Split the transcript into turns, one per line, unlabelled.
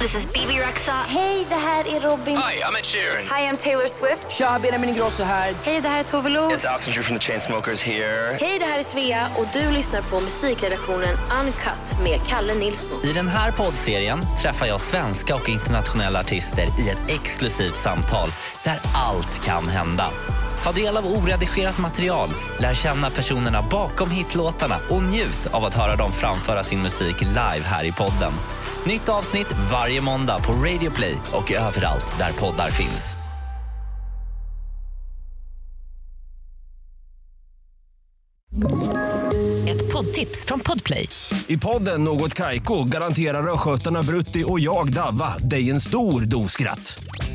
This is BB Rexa.
Hej, det här är Robin.
Hi, I'm Ed Sheeran.
Hi, I'm Taylor Swift.
Tja, Benjamin Ingrosso här.
Hej, det här är Tove Lo.
It's Oxygen from the Chainsmokers here.
Hej, det här är Svea och du lyssnar på musikredaktionen Uncut med Kalle Nilsson.
I den här poddserien träffar jag svenska och internationella artister i ett exklusivt samtal där allt kan hända. Ta del av oredigerat material, lär känna personerna bakom hitlåtarna och njut av att höra dem framföra sin musik live här i podden. Nytt avsnitt varje måndag på Radio Play och överallt där poddar finns.
Ett poddtips från Podplay.
I podden Något Kaiko garanterar östgötarna Brutti och jag, Davva, dig en stor dos skratt.